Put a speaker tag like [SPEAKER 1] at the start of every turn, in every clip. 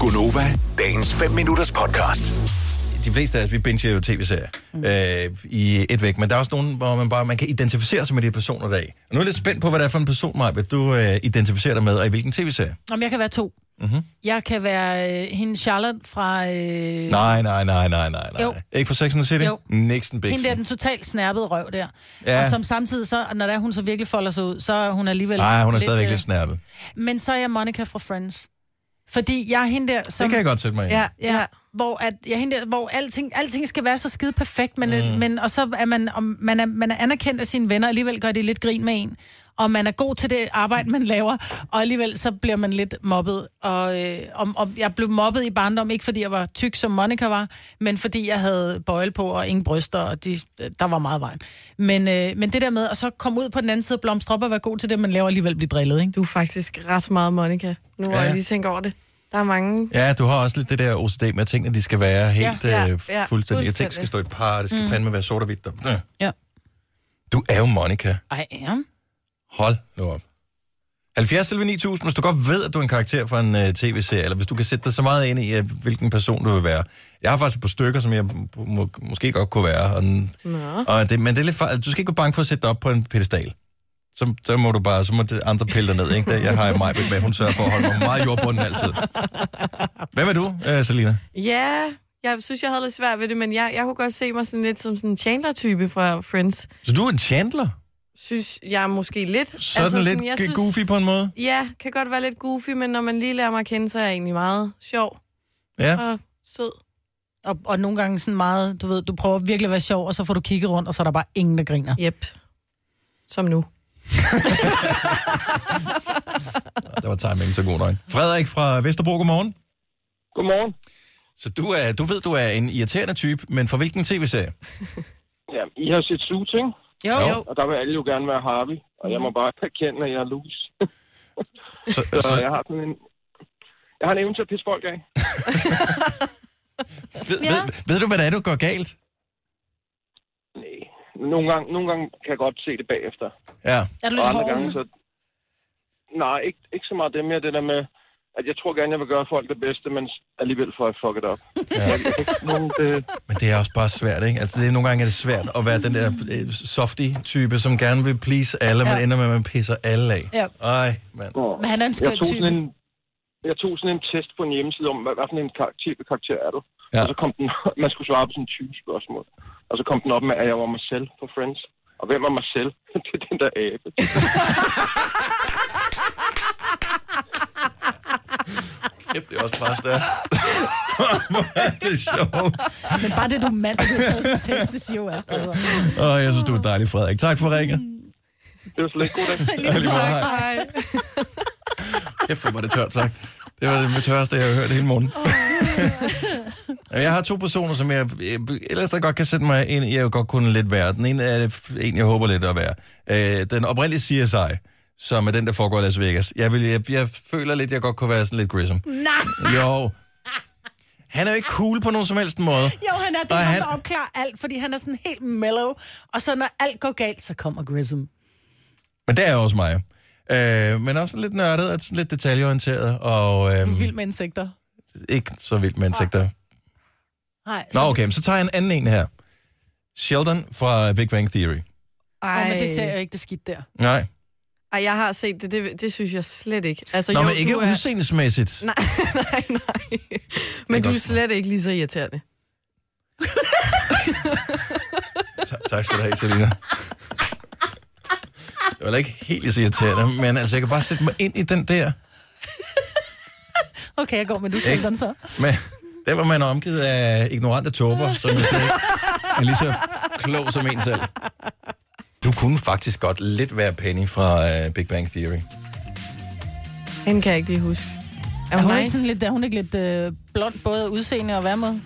[SPEAKER 1] Gunova, dagens 5 minutters podcast.
[SPEAKER 2] de fleste af os, vi binger jo tv-serier mm. øh, i et væk, men der er også nogen, hvor man bare man kan identificere sig med de personer der er i. Og nu er jeg lidt spændt på, hvad det er for en person, Maja, du øh, identificerer dig med, og i hvilken tv-serie.
[SPEAKER 3] Om jeg kan være to.
[SPEAKER 2] Mhm.
[SPEAKER 3] Mm-hmm. Jeg kan være øh, hende Charlotte fra... Øh,
[SPEAKER 2] Nej, nej, nej, nej, nej, nej.
[SPEAKER 3] Jo.
[SPEAKER 2] Ikke for Sex and the City?
[SPEAKER 3] Jo.
[SPEAKER 2] Nixon
[SPEAKER 3] hende
[SPEAKER 2] Bixen.
[SPEAKER 3] der, den totalt snærpede røv der.
[SPEAKER 2] Ja.
[SPEAKER 3] Ja. Og som samtidig så, når der er, hun så virkelig folder sig ud, så er hun alligevel...
[SPEAKER 2] Nej, hun er stadigvæk
[SPEAKER 3] øh,
[SPEAKER 2] lidt snærpet.
[SPEAKER 3] Men så er jeg Monica fra Friends. Fordi jeg er hende der, som...
[SPEAKER 2] Det kan jeg godt sætte mig i.
[SPEAKER 3] Ja, ja. Hvor, at, ja, hende der, hvor alting, alting skal være så skide perfekt, men, mm. men, og så er man, om, man, er, man er anerkendt af sine venner, og alligevel gør det lidt grin med en. Og man er god til det arbejde, man laver, og alligevel så bliver man lidt mobbet. Og, øh, og, og jeg blev mobbet i barndom, ikke fordi jeg var tyk, som Monica var, men fordi jeg havde bøjle på og ingen bryster, og de, der var meget vejen. Men, øh, men det der med at så komme ud på den anden side og blomstre op og være god til det, man laver, og alligevel blive drillet, ikke?
[SPEAKER 4] Du er faktisk ret meget Monica, nu hvor
[SPEAKER 2] Ja.
[SPEAKER 4] ja. jeg lige tænker over det. Der er mange...
[SPEAKER 2] Ja, du har også lidt det der OCD med, at tingene de skal være helt ja,
[SPEAKER 4] ja,
[SPEAKER 2] ja,
[SPEAKER 4] ja,
[SPEAKER 2] ja, fuldstændig. fuldstændig. Ting skal
[SPEAKER 4] fuldstændig.
[SPEAKER 2] stå i par, det skal mm. fandme være sort og hvidt. og-
[SPEAKER 3] Ja.
[SPEAKER 2] Du er jo Monica.
[SPEAKER 3] Ej, ja.
[SPEAKER 2] Hold nu op. 70 selv 9000, hvis du godt ved, at du er en karakter fra en øh, tv-serie, eller hvis du kan sætte dig så meget ind i, øh, hvilken person du vil være. Jeg har faktisk et par stykker, som jeg må, må, måske godt kunne være. Og, den-
[SPEAKER 4] Nå.
[SPEAKER 2] og det, men det er lidt, far- du skal ikke være bange for at sætte dig op på en pedestal. Så, så må du bare, så må det andre pille dig ned, ikke? Der, jeg har mig med, hun sørger for at holde mig meget jordbunden altid. Hvem er du, øh, Selina?
[SPEAKER 4] Ja, jeg synes, jeg havde lidt svært ved det, men jeg, jeg kunne godt se mig sådan lidt som sådan en Chandler-type fra Friends.
[SPEAKER 2] Så du er en Chandler?
[SPEAKER 4] Synes jeg måske lidt.
[SPEAKER 2] Sådan, altså, sådan lidt synes... goofy på en måde?
[SPEAKER 4] Ja, kan godt være lidt goofy, men når man lige lærer mig at kende, så er jeg egentlig meget sjov
[SPEAKER 2] Ja.
[SPEAKER 4] og sød.
[SPEAKER 3] Og, og nogle gange sådan meget, du ved, du prøver virkelig at være sjov, og så får du kigget rundt, og så er der bare ingen, der griner.
[SPEAKER 4] Yep. Som nu.
[SPEAKER 2] Der var timingen så god nok. Frederik fra Vesterbro, godmorgen.
[SPEAKER 5] Godmorgen.
[SPEAKER 2] Så du, er, du ved, du er en irriterende type, men fra hvilken tv-serie?
[SPEAKER 5] Ja, I har set Suits, ikke?
[SPEAKER 3] Jo, jo.
[SPEAKER 5] Og der vil alle jo gerne være Harvey, og jeg må bare erkende, at jeg er loose.
[SPEAKER 2] Så,
[SPEAKER 5] Så jeg
[SPEAKER 2] så
[SPEAKER 5] har sådan en... Jeg har en evne til at pisse folk af.
[SPEAKER 2] ved, ved, ved du, hvad det er, du går galt?
[SPEAKER 5] Nej. Nogle gange, nogle gange kan jeg godt se det bagefter.
[SPEAKER 2] Ja.
[SPEAKER 3] Er du
[SPEAKER 5] Og
[SPEAKER 3] lidt
[SPEAKER 5] andre gange,
[SPEAKER 3] hård?
[SPEAKER 5] så... Nej, ikke, ikke så meget det mere det der med, at jeg tror gerne, jeg vil gøre folk det bedste, men alligevel får jeg fucket op. Ja. Jeg, jeg, kan ikke nogen, det,
[SPEAKER 2] Men det er også bare svært, ikke? Altså, det er, nogle gange er det svært at være den der øh, softy-type, som gerne vil please alle, ja. men
[SPEAKER 3] Ja.
[SPEAKER 2] ender med, at man pisser alle af.
[SPEAKER 3] Ja.
[SPEAKER 2] Ej, mand.
[SPEAKER 5] Nå.
[SPEAKER 3] Men han er en
[SPEAKER 5] jeg
[SPEAKER 3] skøn
[SPEAKER 5] tog
[SPEAKER 3] type.
[SPEAKER 5] sådan en, jeg tog sådan en test på en hjemmeside om, hvad, hvad for en karakter, type karakter er du?
[SPEAKER 2] Ja.
[SPEAKER 5] Ja. Og så kom den, man skulle svare på sådan 20 spørgsmål. Og så kom den op med, at jeg var mig selv på Friends. Og hvem var mig selv? det er den der abe.
[SPEAKER 2] Kæft, det er også bare stærkt. Hvor er det sjovt.
[SPEAKER 3] Men bare det, du er mand, og du har taget sådan en test, det siger jo alt. Altså.
[SPEAKER 2] Åh, jeg synes, du er dejlig, Frederik. Tak for ringet.
[SPEAKER 5] Det var slet ikke god dag.
[SPEAKER 2] Ja, lige meget. Hej.
[SPEAKER 4] Hej.
[SPEAKER 2] Kæft, hvor var det tørt sagt. Det var det tørreste, jeg har hørt hele morgenen. jeg har to personer, som jeg, jeg ellers da godt kan sætte mig ind i, jeg godt kunne lidt være. Den ene er det, en, jeg håber lidt at være. Øh, den oprindelige CSI, som er den, der foregår i Las Vegas. Jeg, vil, jeg, jeg føler lidt, jeg godt kunne være sådan lidt Grissom. Nej! Jo. Han er jo ikke cool på nogen som helst måde.
[SPEAKER 3] Jo, han er det,
[SPEAKER 2] Og
[SPEAKER 3] er
[SPEAKER 2] han-
[SPEAKER 3] han, der opklarer alt, fordi han er sådan helt mellow. Og så når alt går galt, så kommer Grism.
[SPEAKER 2] Men det er også mig. Øh, men også lidt nørdet, og sådan lidt detaljeorienteret, og øh,
[SPEAKER 3] Vild med insekter.
[SPEAKER 2] ikke så vildt med insekter.
[SPEAKER 3] Nej,
[SPEAKER 2] Nå,
[SPEAKER 3] så,
[SPEAKER 2] okay, men så tager jeg en anden en her. Sheldon fra Big Bang Theory.
[SPEAKER 3] Åh, men
[SPEAKER 4] Ej.
[SPEAKER 3] det ser jo ikke det skidt der.
[SPEAKER 2] Nej.
[SPEAKER 4] Ej, jeg har set det, det, det synes jeg slet ikke. Altså,
[SPEAKER 2] Nå,
[SPEAKER 4] jo,
[SPEAKER 2] men ikke
[SPEAKER 4] du er...
[SPEAKER 2] udseendesmæssigt.
[SPEAKER 4] Nej, nej, nej. Men du
[SPEAKER 2] godt
[SPEAKER 4] er slet ikke lige så irriterende.
[SPEAKER 2] Ta- tak skal du have, Selina. Det var da ikke helt så irriterende, men altså, jeg kan bare sætte mig ind i den der.
[SPEAKER 3] Okay, jeg går med du,
[SPEAKER 2] Ikke?
[SPEAKER 3] Sheldon, så.
[SPEAKER 2] Men der var man er omgivet af ignorante tåber, som jeg ikke er lige så klog som en selv. Du kunne faktisk godt lidt være Penny fra øh, Big Bang Theory.
[SPEAKER 4] Den kan jeg ikke lige huske. Er
[SPEAKER 3] Er
[SPEAKER 4] hun
[SPEAKER 3] hun, ikke
[SPEAKER 4] nice?
[SPEAKER 3] sådan lidt, er hun ikke lidt øh, blond, både udseende og værmåde?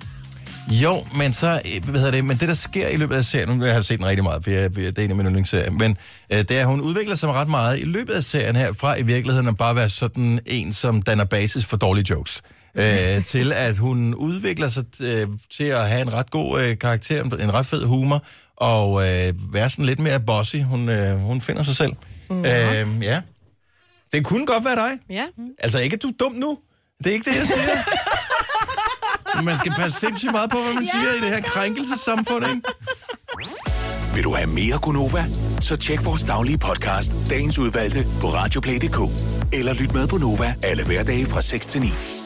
[SPEAKER 2] Jo, men så, øh, hvad hedder det, men det der sker i løbet af serien, nu har jeg set den rigtig meget, for jeg, jeg- det er en af mine yndlingsserier, men øh, det er, at hun udvikler sig ret meget i løbet af serien her, fra i virkeligheden at bare være sådan en, som danner basis for dårlige jokes, øh, til at hun udvikler sig øh, til at have en ret god øh, karakter, en ret fed humor, og øh, være sådan lidt mere bossy. Hun, øh, hun finder sig selv. Mm-hmm. Øh, ja. Det kunne godt være dig.
[SPEAKER 4] Ja.
[SPEAKER 2] Mm-hmm. Altså ikke, at du er dum nu. Det er ikke det, jeg siger. Man skal passe sindssygt meget på, hvad man siger i det her krænkelsessamfund, ikke?
[SPEAKER 1] Vil du have mere Gunova? Så tjek vores daglige podcast, dagens udvalgte, på radioplay.dk. Eller lyt med på Nova alle hverdage fra 6 til 9.